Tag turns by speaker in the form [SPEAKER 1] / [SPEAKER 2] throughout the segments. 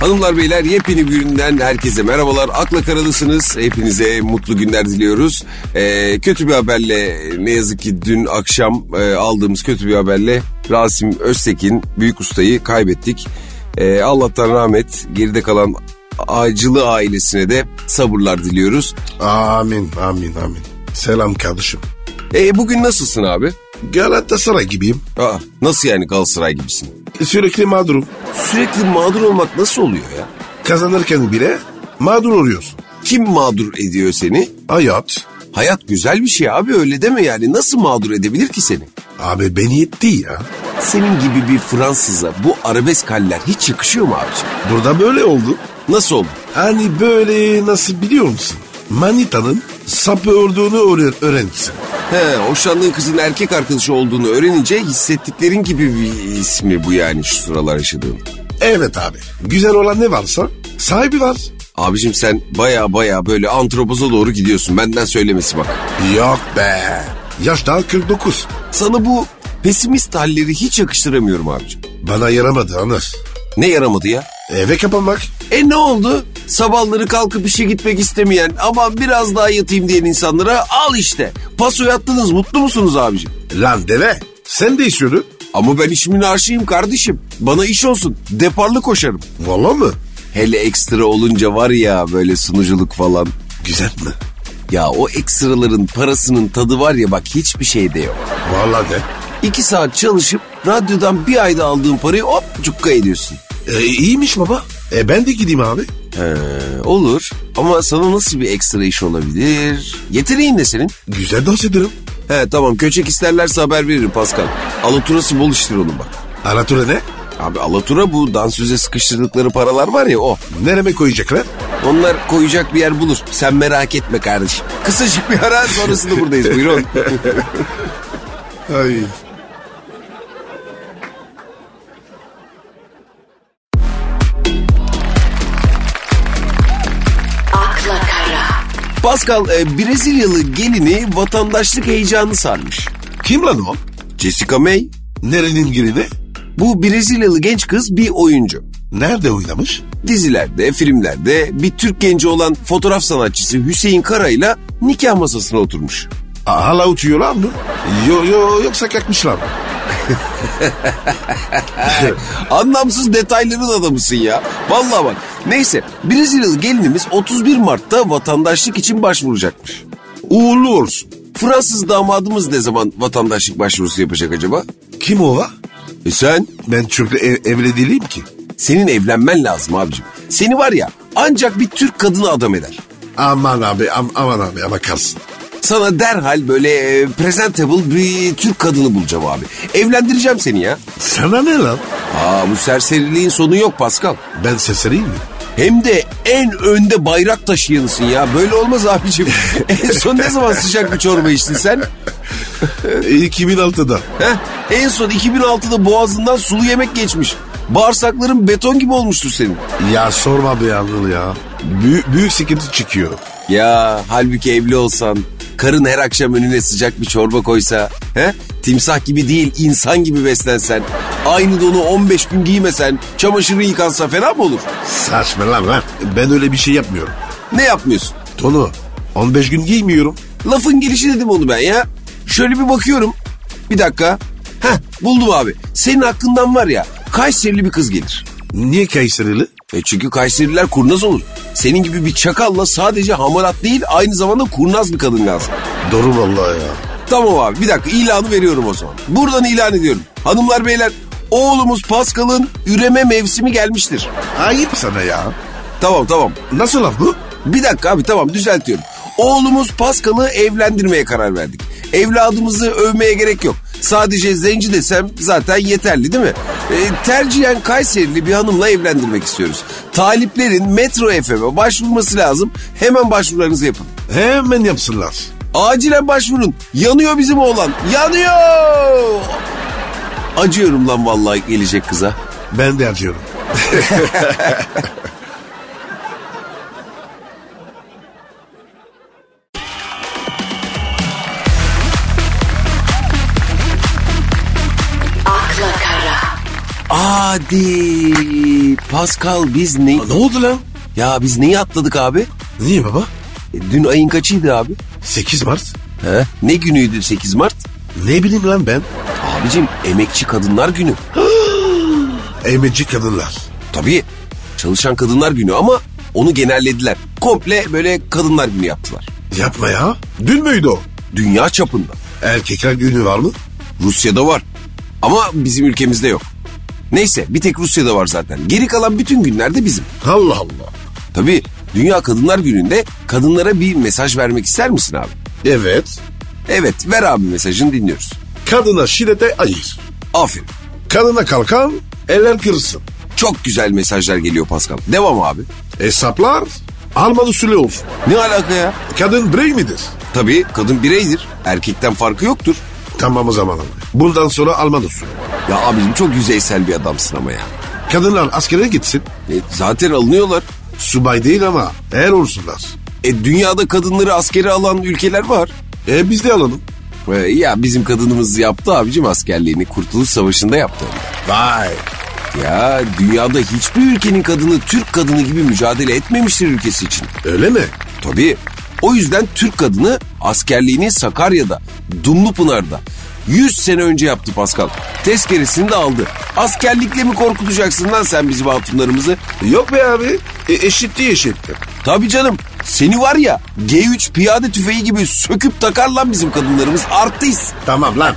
[SPEAKER 1] Hanımlar beyler yepyeni bir günden herkese merhabalar. Akla karadasınız. Hepinize mutlu günler diliyoruz. Ee, kötü bir haberle ne yazık ki dün akşam e, aldığımız kötü bir haberle Rasim Öztekin büyük ustayı kaybettik. Ee, Allah'tan rahmet geride kalan acılı ailesine de sabırlar diliyoruz.
[SPEAKER 2] Amin amin amin. Selam kardeşim.
[SPEAKER 1] E, bugün nasılsın abi?
[SPEAKER 2] Galatasaray gibiyim.
[SPEAKER 1] Aa, nasıl yani Galatasaray gibisin?
[SPEAKER 2] Sürekli mağdurum.
[SPEAKER 1] Sürekli mağdur olmak nasıl oluyor ya?
[SPEAKER 2] Kazanırken bile mağdur oluyorsun.
[SPEAKER 1] Kim mağdur ediyor seni?
[SPEAKER 2] Hayat.
[SPEAKER 1] Hayat güzel bir şey abi öyle deme yani. Nasıl mağdur edebilir ki seni?
[SPEAKER 2] Abi beni etti ya.
[SPEAKER 1] Senin gibi bir Fransız'a bu arabesk haller hiç yakışıyor mu abiciğim?
[SPEAKER 2] Burada böyle oldu.
[SPEAKER 1] Nasıl oldu?
[SPEAKER 2] Hani böyle nasıl biliyor musun? Manitanın sapı ördüğünü öğren öğrenirsin.
[SPEAKER 1] He, hoşlandığın kızın erkek arkadaşı olduğunu öğrenince hissettiklerin gibi bir ismi bu yani şu sıralar yaşadığın.
[SPEAKER 2] Evet abi. Güzel olan ne varsa sahibi var.
[SPEAKER 1] Abicim sen baya baya böyle antropoza doğru gidiyorsun benden söylemesi bak.
[SPEAKER 2] Yok be. Yaş daha 49.
[SPEAKER 1] Sana bu pesimist halleri hiç yakıştıramıyorum abicim.
[SPEAKER 2] Bana yaramadı Anır.
[SPEAKER 1] Ne yaramadı ya?
[SPEAKER 2] Eve kapanmak.
[SPEAKER 1] E ne oldu? Sabahları kalkıp işe gitmek istemeyen ama biraz daha yatayım diyen insanlara al işte. Paso yattınız mutlu musunuz abicim?
[SPEAKER 2] Lan deve. Sen de istiyordun.
[SPEAKER 1] Ama ben işimin aşığıyım kardeşim. Bana iş olsun. Deparlı koşarım.
[SPEAKER 2] Valla mı?
[SPEAKER 1] Hele ekstra olunca var ya böyle sunuculuk falan.
[SPEAKER 2] Güzel mi?
[SPEAKER 1] Ya o ekstraların parasının tadı var ya bak hiçbir şeyde yok.
[SPEAKER 2] Valla de.
[SPEAKER 1] İki saat çalışıp radyodan bir ayda aldığın parayı hop cukka ediyorsun.
[SPEAKER 2] E, iyiymiş baba. E, ben de gideyim abi.
[SPEAKER 1] He, E, olur ama sana nasıl bir ekstra iş olabilir? Yeteneğin ne senin?
[SPEAKER 2] Güzel dans ederim.
[SPEAKER 1] He tamam köçek isterlerse haber veririm Pascal. Alaturası bol iştir onun bak.
[SPEAKER 2] Aratura ne?
[SPEAKER 1] Abi alatura bu dansöze sıkıştırdıkları paralar var ya o.
[SPEAKER 2] Nereme koyacaklar?
[SPEAKER 1] Onlar koyacak bir yer bulur. Sen merak etme kardeşim. Kısacık bir ara sonrasında buradayız buyurun.
[SPEAKER 2] Ay.
[SPEAKER 3] akla kara,
[SPEAKER 1] Pascal e, Brezilyalı gelini vatandaşlık heyecanı sarmış.
[SPEAKER 2] Kim lan o?
[SPEAKER 1] Jessica May
[SPEAKER 2] Nerenin gelini?
[SPEAKER 1] bu Brezilyalı genç kız bir oyuncu.
[SPEAKER 2] Nerede oynamış?
[SPEAKER 1] Dizilerde, filmlerde bir Türk genci olan fotoğraf sanatçısı Hüseyin Kara'yla nikah masasına oturmuş.
[SPEAKER 2] Aa, hala uçuyorlar mı? Yo, yo, yoksa kalkmışlar mı?
[SPEAKER 1] Anlamsız detayların adamısın ya. Vallahi bak. Neyse Brezilyalı gelinimiz 31 Mart'ta vatandaşlık için başvuracakmış.
[SPEAKER 2] Uğurlu olsun.
[SPEAKER 1] Fransız damadımız ne zaman vatandaşlık başvurusu yapacak acaba?
[SPEAKER 2] Kim o la?
[SPEAKER 1] E sen?
[SPEAKER 2] Ben çünkü ev, evli değilim ki.
[SPEAKER 1] Senin evlenmen lazım abicim. Seni var ya ancak bir Türk kadını adam eder.
[SPEAKER 2] Aman abi am- aman abi ama kalsın.
[SPEAKER 1] Sana derhal böyle e, presentable bir Türk kadını bulacağım abi. Evlendireceğim seni ya.
[SPEAKER 2] Sana ne lan?
[SPEAKER 1] Aa bu serseriliğin sonu yok Pascal.
[SPEAKER 2] Ben sesereyim mi?
[SPEAKER 1] Hem de en önde bayrak taşıyanısın ya. Böyle olmaz abicim. en son ne zaman sıcak bir çorba içtin sen?
[SPEAKER 2] E, 2006'da.
[SPEAKER 1] Heh, en son 2006'da boğazından sulu yemek geçmiş. Bağırsakların beton gibi olmuştur senin.
[SPEAKER 2] Ya sorma be Anıl ya. Büyük, büyük sıkıntı çekiyorum.
[SPEAKER 1] Ya halbuki evli olsan, karın her akşam önüne sıcak bir çorba koysa, he? timsah gibi değil insan gibi beslensen, aynı donu 15 gün giymesen, çamaşırı yıkansa fena mı olur?
[SPEAKER 2] Saçma lan lan. Ben öyle bir şey yapmıyorum.
[SPEAKER 1] Ne yapmıyorsun?
[SPEAKER 2] Tonu 15 gün giymiyorum.
[SPEAKER 1] Lafın gelişi dedim onu ben ya. Şöyle bir bakıyorum. Bir dakika. Heh buldum abi. Senin hakkından var ya Kayserili bir kız gelir.
[SPEAKER 2] Niye Kayserili?
[SPEAKER 1] E çünkü Kayseriler kurnaz olur. Senin gibi bir çakalla sadece hamarat değil aynı zamanda kurnaz bir kadın lazım.
[SPEAKER 2] Doğru vallahi ya.
[SPEAKER 1] Tamam abi bir dakika ilanı veriyorum o zaman. Buradan ilan ediyorum. Hanımlar beyler oğlumuz Pascal'ın üreme mevsimi gelmiştir.
[SPEAKER 2] Ayıp sana ya.
[SPEAKER 1] Tamam tamam.
[SPEAKER 2] Nasıl laf bu?
[SPEAKER 1] Bir dakika abi tamam düzeltiyorum. Oğlumuz Pascal'ı evlendirmeye karar verdik. Evladımızı övmeye gerek yok. Sadece zenci desem zaten yeterli değil mi? E, tercihen Kayserili bir hanımla evlendirmek istiyoruz. Taliplerin Metro FM'e başvurması lazım. Hemen başvurularınızı yapın.
[SPEAKER 2] Hemen yapsınlar.
[SPEAKER 1] Acilen başvurun. Yanıyor bizim oğlan. Yanıyor. Acıyorum lan vallahi gelecek kıza.
[SPEAKER 2] Ben de acıyorum.
[SPEAKER 3] akla kara,
[SPEAKER 1] Adi Pascal biz ne?
[SPEAKER 2] Aa, ne oldu lan?
[SPEAKER 1] Ya biz neyi atladık abi?
[SPEAKER 2] Niye baba?
[SPEAKER 1] E, dün ayın kaçıydı abi?
[SPEAKER 2] 8 Mart.
[SPEAKER 1] He? Ne günüydü 8 Mart?
[SPEAKER 2] Ne bileyim lan ben?
[SPEAKER 1] Abicim emekçi kadınlar günü.
[SPEAKER 2] Emeci kadınlar.
[SPEAKER 1] Tabii çalışan kadınlar günü ama onu genellediler. Komple böyle kadınlar günü yaptılar.
[SPEAKER 2] Yapma ya. Dün müydü o?
[SPEAKER 1] Dünya çapında.
[SPEAKER 2] Erkekler günü var mı?
[SPEAKER 1] Rusya'da var. Ama bizim ülkemizde yok. Neyse bir tek Rusya'da var zaten. Geri kalan bütün günlerde bizim.
[SPEAKER 2] Allah Allah.
[SPEAKER 1] Tabii Dünya Kadınlar Günü'nde kadınlara bir mesaj vermek ister misin abi?
[SPEAKER 2] Evet.
[SPEAKER 1] Evet ver abi mesajını dinliyoruz.
[SPEAKER 2] Kadına şiddete ayır.
[SPEAKER 1] Aferin.
[SPEAKER 2] Kadına kalkan eller kırsın.
[SPEAKER 1] Çok güzel mesajlar geliyor Pascal. Devam abi.
[SPEAKER 2] Hesaplar Alman usulü olsun.
[SPEAKER 1] Ne alaka ya?
[SPEAKER 2] Kadın birey midir?
[SPEAKER 1] Tabii kadın bireydir. Erkekten farkı yoktur.
[SPEAKER 2] Tamam o zaman abi. Bundan sonra Alman usulü.
[SPEAKER 1] Ya abicim çok yüzeysel bir adamsın ama ya.
[SPEAKER 2] Kadınlar askere gitsin.
[SPEAKER 1] E, zaten alınıyorlar.
[SPEAKER 2] Subay değil ama eğer olsunlar.
[SPEAKER 1] E, dünyada kadınları askere alan ülkeler var.
[SPEAKER 2] E biz de alalım.
[SPEAKER 1] E, ya bizim kadınımız yaptı abicim askerliğini. Kurtuluş Savaşı'nda yaptı.
[SPEAKER 2] Vay.
[SPEAKER 1] Ya dünyada hiçbir ülkenin kadını Türk kadını gibi mücadele etmemiştir ülkesi için.
[SPEAKER 2] Öyle mi?
[SPEAKER 1] Tabii. O yüzden Türk kadını askerliğini Sakarya'da, Dumlupınar'da 100 sene önce yaptı Pascal. Tezkeresini de aldı. Askerlikle mi korkutacaksın lan sen bizim hatunlarımızı?
[SPEAKER 2] Yok be abi. E, eşitliği eşittir.
[SPEAKER 1] Tabii canım. Seni var ya G3 piyade tüfeği gibi söküp takar lan bizim kadınlarımız. Artist.
[SPEAKER 2] Tamam lan.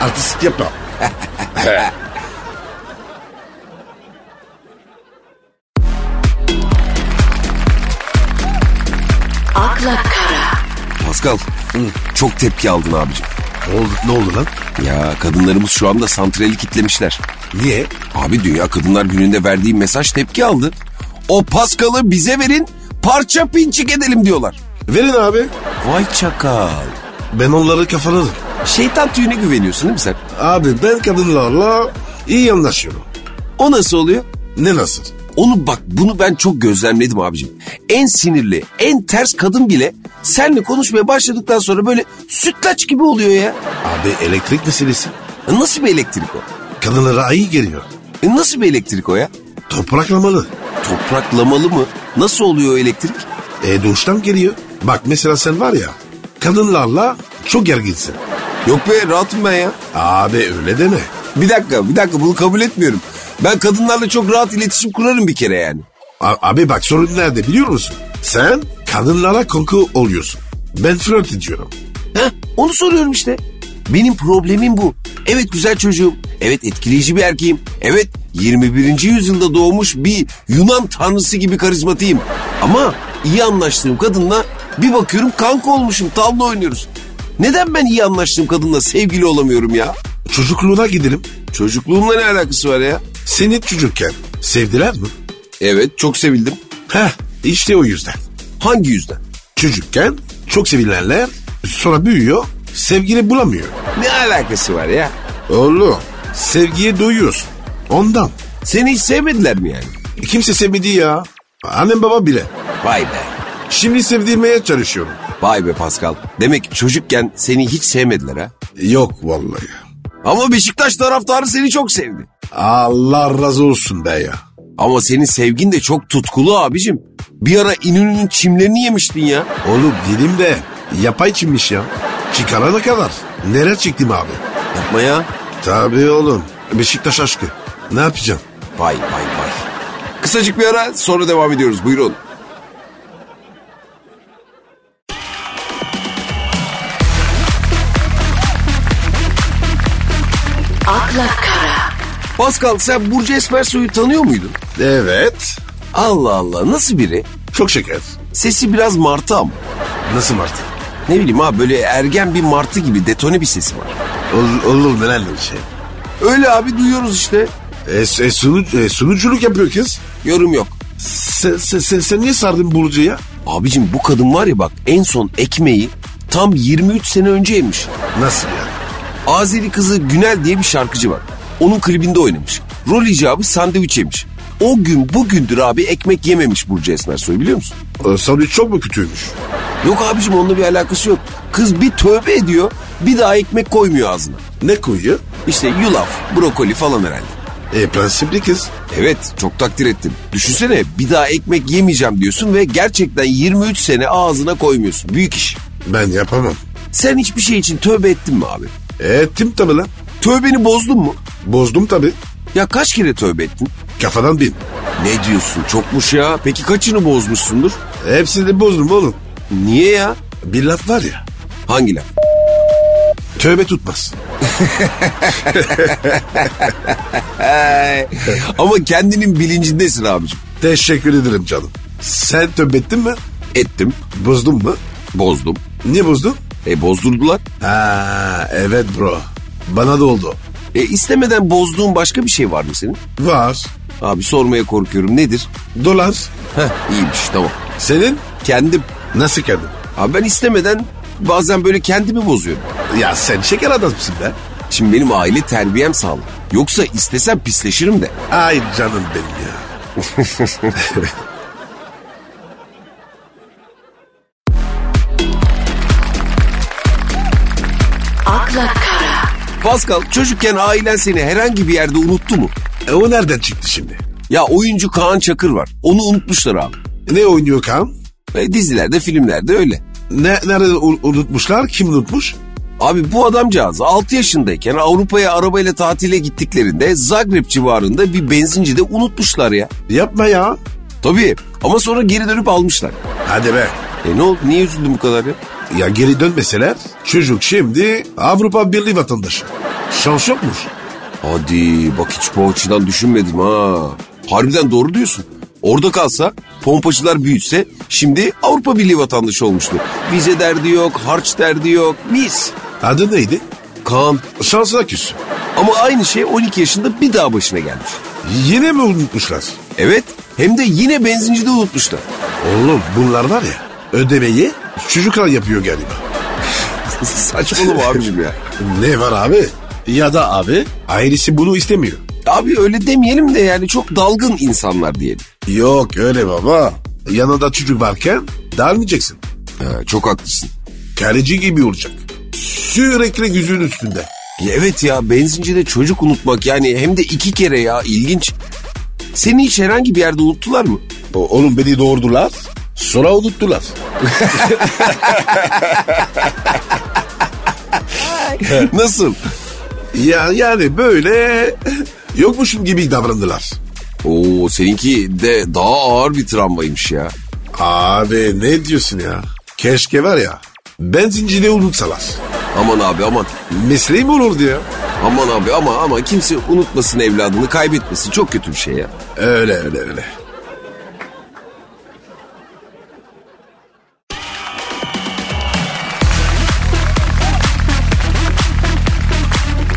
[SPEAKER 2] Artistik yapma.
[SPEAKER 3] akla kara,
[SPEAKER 1] Pascal çok tepki aldın abicim.
[SPEAKER 2] Ne oldu, ne oldu lan?
[SPEAKER 1] Ya kadınlarımız şu anda santrali kitlemişler.
[SPEAKER 2] Niye?
[SPEAKER 1] Abi Dünya Kadınlar Günü'nde verdiği mesaj tepki aldı. O Paskal'ı bize verin parça pinçik edelim diyorlar.
[SPEAKER 2] Verin abi.
[SPEAKER 1] Vay çakal.
[SPEAKER 2] Ben onları kafalarım.
[SPEAKER 1] Şeytan tüyüne güveniyorsun değil mi sen?
[SPEAKER 2] Abi ben kadınlarla iyi anlaşıyorum.
[SPEAKER 1] O nasıl oluyor?
[SPEAKER 2] Ne nasıl?
[SPEAKER 1] Onu bak bunu ben çok gözlemledim abicim. En sinirli, en ters kadın bile senle konuşmaya başladıktan sonra böyle sütlaç gibi oluyor ya.
[SPEAKER 2] Abi elektrik meselesi.
[SPEAKER 1] E Nasıl bir elektrik o?
[SPEAKER 2] Kadınlara iyi geliyor.
[SPEAKER 1] E Nasıl bir elektrik o ya?
[SPEAKER 2] Topraklamalı.
[SPEAKER 1] Topraklamalı mı? Nasıl oluyor o elektrik?
[SPEAKER 2] E doğuştan geliyor. Bak mesela sen var ya kadınlarla çok gerginsin.
[SPEAKER 1] Yok be rahatım ben ya.
[SPEAKER 2] Abi öyle deme.
[SPEAKER 1] Bir dakika bir dakika bunu kabul etmiyorum. Ben kadınlarla çok rahat iletişim kurarım bir kere yani.
[SPEAKER 2] A- abi bak sorun nerede biliyor musun? Sen kadınlara korku oluyorsun. Ben flört ediyorum.
[SPEAKER 1] Heh, onu soruyorum işte. Benim problemim bu. Evet güzel çocuğum. Evet etkileyici bir erkeğim. Evet 21. yüzyılda doğmuş bir Yunan tanrısı gibi karizmatiyim. Ama iyi anlaştığım kadınla bir bakıyorum kanka olmuşum tavla oynuyoruz. Neden ben iyi anlaştığım kadınla sevgili olamıyorum ya?
[SPEAKER 2] Çocukluğuna gidelim.
[SPEAKER 1] Çocukluğumla ne alakası var ya?
[SPEAKER 2] Seni çocukken sevdiler mi?
[SPEAKER 1] Evet çok sevildim.
[SPEAKER 2] Heh işte o yüzden.
[SPEAKER 1] Hangi yüzden?
[SPEAKER 2] Çocukken çok sevilenler sonra büyüyor sevgili bulamıyor.
[SPEAKER 1] Ne alakası var ya?
[SPEAKER 2] Oğlum sevgiye doyuyorsun. Ondan.
[SPEAKER 1] Seni hiç sevmediler mi yani?
[SPEAKER 2] Kimse sevmedi ya. Annem baba bile.
[SPEAKER 1] Vay be.
[SPEAKER 2] Şimdi sevdirmeye çalışıyorum.
[SPEAKER 1] Vay be Pascal. Demek çocukken seni hiç sevmediler ha?
[SPEAKER 2] Yok vallahi.
[SPEAKER 1] Ama Beşiktaş taraftarı seni çok sevdi.
[SPEAKER 2] Allah razı olsun be ya.
[SPEAKER 1] Ama senin sevgin de çok tutkulu abicim. Bir ara İnönü'nün çimlerini yemiştin ya.
[SPEAKER 2] Oğlum dilim de yapay çimmiş ya. Çıkarana kadar. Nereye çıktım abi?
[SPEAKER 1] Yapma ya.
[SPEAKER 2] Tabii oğlum. Beşiktaş aşkı. Ne yapacağım?
[SPEAKER 1] Vay vay vay. Kısacık bir ara sonra devam ediyoruz. Buyurun.
[SPEAKER 3] akla kara,
[SPEAKER 1] Pascal sen Burcu Esmersoy'u tanıyor muydun?
[SPEAKER 2] Evet.
[SPEAKER 1] Allah Allah nasıl biri?
[SPEAKER 2] Çok şeker.
[SPEAKER 1] Sesi biraz martı ama.
[SPEAKER 2] Nasıl Martı?
[SPEAKER 1] Ne bileyim ha böyle ergen bir martı gibi detone bir sesi var.
[SPEAKER 2] Olur, olur neler bir şey.
[SPEAKER 1] Öyle abi duyuyoruz işte.
[SPEAKER 2] E, e, sunu- e, sunuculuk yapıyor kız.
[SPEAKER 1] Yorum yok.
[SPEAKER 2] Sen, sen, sen, sen niye sardın Burcu'ya?
[SPEAKER 1] Abicim bu kadın var ya bak en son ekmeği tam 23 sene önce yemiş.
[SPEAKER 2] Nasıl yani?
[SPEAKER 1] Azeri kızı Günel diye bir şarkıcı var. Onun klibinde oynamış. Rol icabı sandviç yemiş. O gün bugündür abi ekmek yememiş Burcu Esmersoy biliyor musun?
[SPEAKER 2] E, sandviç çok mu kötüymüş?
[SPEAKER 1] Yok abicim onunla bir alakası yok. Kız bir tövbe ediyor bir daha ekmek koymuyor ağzına.
[SPEAKER 2] Ne koyuyor?
[SPEAKER 1] İşte yulaf, brokoli falan herhalde.
[SPEAKER 2] E prensipli kız.
[SPEAKER 1] Evet çok takdir ettim. Düşünsene bir daha ekmek yemeyeceğim diyorsun ve gerçekten 23 sene ağzına koymuyorsun. Büyük iş.
[SPEAKER 2] Ben yapamam.
[SPEAKER 1] Sen hiçbir şey için tövbe ettin mi abi?
[SPEAKER 2] E, ettim tabi lan.
[SPEAKER 1] Tövbeni bozdun mu?
[SPEAKER 2] Bozdum tabi.
[SPEAKER 1] Ya kaç kere tövbe ettin?
[SPEAKER 2] Kafadan bin.
[SPEAKER 1] Ne diyorsun çokmuş ya. Peki kaçını bozmuşsundur?
[SPEAKER 2] Hepsini bozdum oğlum.
[SPEAKER 1] Niye ya?
[SPEAKER 2] Bir laf var ya.
[SPEAKER 1] Hangi laf?
[SPEAKER 2] Tövbe tutmaz.
[SPEAKER 1] Ama kendinin bilincindesin abicim.
[SPEAKER 2] Teşekkür ederim canım. Sen tövbe ettin mi?
[SPEAKER 1] Ettim,
[SPEAKER 2] Bozdun mu?
[SPEAKER 1] bozdum.
[SPEAKER 2] Niye bozdun?
[SPEAKER 1] E bozdurdular.
[SPEAKER 2] Ha evet bro. Bana da oldu.
[SPEAKER 1] E istemeden bozduğun başka bir şey var mı senin?
[SPEAKER 2] Var.
[SPEAKER 1] Abi sormaya korkuyorum nedir?
[SPEAKER 2] Dolar.
[SPEAKER 1] Heh iyiymiş tamam.
[SPEAKER 2] Senin?
[SPEAKER 1] Kendim.
[SPEAKER 2] Nasıl kadın?
[SPEAKER 1] Abi ben istemeden bazen böyle kendimi bozuyorum.
[SPEAKER 2] Ya sen şeker adamsın be.
[SPEAKER 1] Şimdi benim aile terbiyem sağlam. Yoksa istesem pisleşirim de.
[SPEAKER 2] Ay canım benim ya.
[SPEAKER 3] akla kara,
[SPEAKER 1] Pascal çocukken ailen seni herhangi bir yerde unuttu mu?
[SPEAKER 2] E, o nereden çıktı şimdi?
[SPEAKER 1] Ya oyuncu Kaan Çakır var. Onu unutmuşlar abi.
[SPEAKER 2] Ne oynuyor Kaan?
[SPEAKER 1] E, dizilerde filmlerde öyle.
[SPEAKER 2] Ne, nerede u- unutmuşlar? Kim unutmuş?
[SPEAKER 1] Abi bu adamcağız 6 yaşındayken Avrupa'ya arabayla tatile gittiklerinde Zagreb civarında bir benzincide unutmuşlar ya.
[SPEAKER 2] Yapma ya.
[SPEAKER 1] Tabii ama sonra geri dönüp almışlar.
[SPEAKER 2] Hadi be.
[SPEAKER 1] E ne oldu niye üzüldün bu kadar ya?
[SPEAKER 2] Ya geri dönmeseler çocuk şimdi Avrupa Birliği vatandaşı. Şans yokmuş.
[SPEAKER 1] Hadi bak hiç bu açıdan düşünmedim ha. Harbiden doğru diyorsun. Orada kalsa pompacılar büyütse şimdi Avrupa Birliği vatandaşı olmuştu. Vize derdi yok, harç derdi yok. Mis.
[SPEAKER 2] Adı neydi?
[SPEAKER 1] Kaan.
[SPEAKER 2] Şansına küs.
[SPEAKER 1] Ama aynı şey 12 yaşında bir daha başına gelmiş.
[SPEAKER 2] Yine mi unutmuşlar?
[SPEAKER 1] Evet hem de yine benzincide unutmuşlar.
[SPEAKER 2] Oğlum bunlar var ya ödemeyi çocuklar yapıyor galiba.
[SPEAKER 1] Saçmalama abicim ya.
[SPEAKER 2] Ne var abi? Ya da abi ailesi bunu istemiyor.
[SPEAKER 1] Abi öyle demeyelim de yani çok dalgın insanlar diyelim.
[SPEAKER 2] Yok öyle baba. Yanında çocuk varken darmayacaksın.
[SPEAKER 1] Ha, Ee, çok haklısın.
[SPEAKER 2] Kaleci gibi olacak. Sürekli yüzün üstünde.
[SPEAKER 1] Ya Evet ya benzincide çocuk unutmak yani hem de iki kere ya ilginç. Seni hiç herhangi bir yerde unuttular mı?
[SPEAKER 2] O- Oğlum beni doğurdular. Sonra unuttular.
[SPEAKER 1] Nasıl?
[SPEAKER 2] Ya yani böyle yokmuşum gibi davrandılar.
[SPEAKER 1] Oo seninki de daha ağır bir travmaymış ya.
[SPEAKER 2] Abi ne diyorsun ya? Keşke var ya benzincide unutsalar.
[SPEAKER 1] Aman abi aman.
[SPEAKER 2] Mesleğim olurdu ya.
[SPEAKER 1] Aman abi ama ama kimse unutmasın evladını kaybetmesin çok kötü bir şey ya.
[SPEAKER 2] Öyle öyle öyle.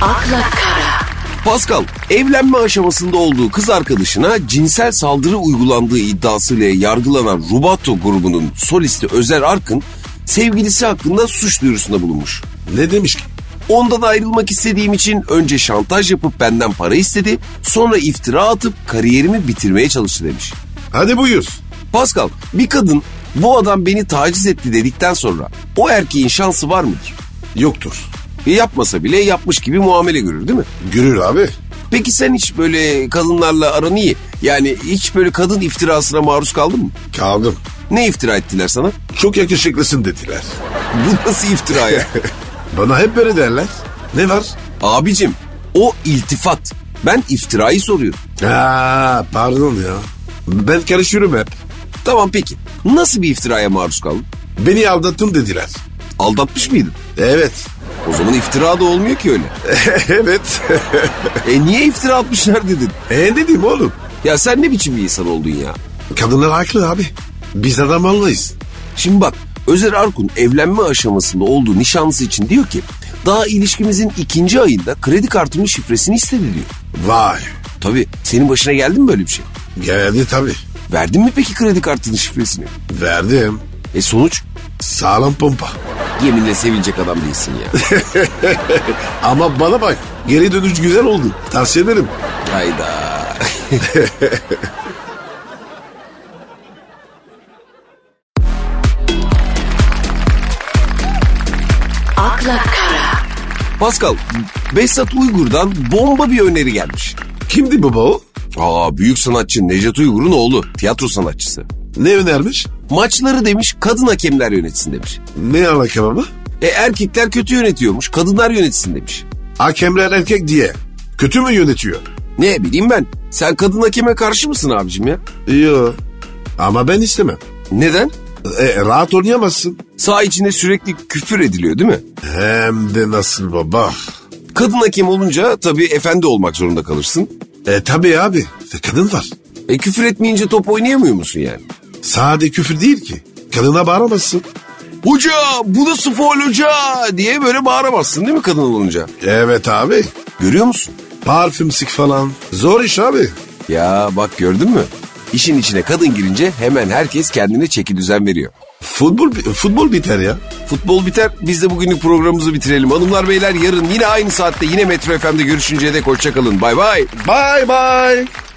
[SPEAKER 3] akla kara,
[SPEAKER 1] Pascal evlenme aşamasında olduğu kız arkadaşına cinsel saldırı uygulandığı iddiasıyla yargılanan Rubato grubunun solisti Özer Arkın sevgilisi hakkında suç duyurusunda bulunmuş.
[SPEAKER 2] Ne demiş ki?
[SPEAKER 1] Ondan ayrılmak istediğim için önce şantaj yapıp benden para istedi. Sonra iftira atıp kariyerimi bitirmeye çalıştı demiş.
[SPEAKER 2] Hadi buyur.
[SPEAKER 1] Pascal bir kadın bu adam beni taciz etti dedikten sonra o erkeğin şansı var mıdır?
[SPEAKER 2] Yoktur.
[SPEAKER 1] E yapmasa bile yapmış gibi muamele görür değil mi?
[SPEAKER 2] Gürür abi.
[SPEAKER 1] Peki sen hiç böyle kadınlarla aran iyi. Yani hiç böyle kadın iftirasına maruz kaldın mı?
[SPEAKER 2] Kaldım.
[SPEAKER 1] Ne iftira ettiler sana?
[SPEAKER 2] Çok yakışıklısın dediler.
[SPEAKER 1] Bu nasıl iftira ya?
[SPEAKER 2] Bana hep böyle derler. Ne var?
[SPEAKER 1] Abicim o iltifat. Ben iftirayı soruyorum.
[SPEAKER 2] Ha, pardon ya. Ben karışıyorum hep.
[SPEAKER 1] Tamam peki. Nasıl bir iftiraya maruz kaldın?
[SPEAKER 2] Beni aldattın dediler.
[SPEAKER 1] Aldatmış mıydın?
[SPEAKER 2] Evet.
[SPEAKER 1] O zaman iftira da olmuyor ki öyle.
[SPEAKER 2] evet.
[SPEAKER 1] E niye iftira atmışlar dedin?
[SPEAKER 2] e dedim oğlum.
[SPEAKER 1] Ya sen ne biçim bir insan oldun ya?
[SPEAKER 2] Kadınlar haklı abi. Biz adam almayız.
[SPEAKER 1] Şimdi bak Özer Arkun evlenme aşamasında olduğu nişanlısı için diyor ki daha ilişkimizin ikinci ayında kredi kartımın şifresini istedi diyor.
[SPEAKER 2] Vay.
[SPEAKER 1] Tabii senin başına geldi mi böyle bir şey?
[SPEAKER 2] Geldi tabii.
[SPEAKER 1] Verdin mi peki kredi kartının şifresini?
[SPEAKER 2] Verdim.
[SPEAKER 1] E sonuç?
[SPEAKER 2] Sağlam pompa.
[SPEAKER 1] Yeminle sevinecek adam değilsin ya.
[SPEAKER 2] Ama bana bak. Geri dönüş güzel oldu. Tavsiye ederim.
[SPEAKER 1] Hayda.
[SPEAKER 3] akla kara,
[SPEAKER 1] Pascal, Behzat Uygur'dan bomba bir öneri gelmiş.
[SPEAKER 2] Kimdi baba o?
[SPEAKER 1] Aa büyük sanatçı Necdet Uygur'un oğlu. Tiyatro sanatçısı.
[SPEAKER 2] Ne önermiş?
[SPEAKER 1] Maçları demiş kadın hakemler yönetsin demiş.
[SPEAKER 2] Ne alaka baba?
[SPEAKER 1] E erkekler kötü yönetiyormuş kadınlar yönetsin demiş.
[SPEAKER 2] Hakemler erkek diye. Kötü mü yönetiyor?
[SPEAKER 1] Ne bileyim ben. Sen kadın hakeme karşı mısın abicim ya?
[SPEAKER 2] Yo. Ama ben istemem.
[SPEAKER 1] Neden?
[SPEAKER 2] E, rahat oynayamazsın.
[SPEAKER 1] Sağ içinde sürekli küfür ediliyor değil mi?
[SPEAKER 2] Hem de nasıl baba?
[SPEAKER 1] Kadın hakem olunca tabii efendi olmak zorunda kalırsın.
[SPEAKER 2] E tabi abi. Kadın var.
[SPEAKER 1] E küfür etmeyince top oynayamıyor musun yani?
[SPEAKER 2] Sade küfür değil ki. Kadına bağıramazsın.
[SPEAKER 1] Hoca bu nasıl faul hoca diye böyle bağıramazsın değil mi kadın olunca?
[SPEAKER 2] Evet abi.
[SPEAKER 1] Görüyor musun?
[SPEAKER 2] Parfüm sık falan. Zor iş abi.
[SPEAKER 1] Ya bak gördün mü? İşin içine kadın girince hemen herkes kendine çeki düzen veriyor.
[SPEAKER 2] Futbol futbol biter ya.
[SPEAKER 1] Futbol biter biz de bugünlük programımızı bitirelim. Hanımlar beyler yarın yine aynı saatte yine Metro FM'de görüşünceye dek hoşçakalın. Bay bay.
[SPEAKER 2] Bye bye.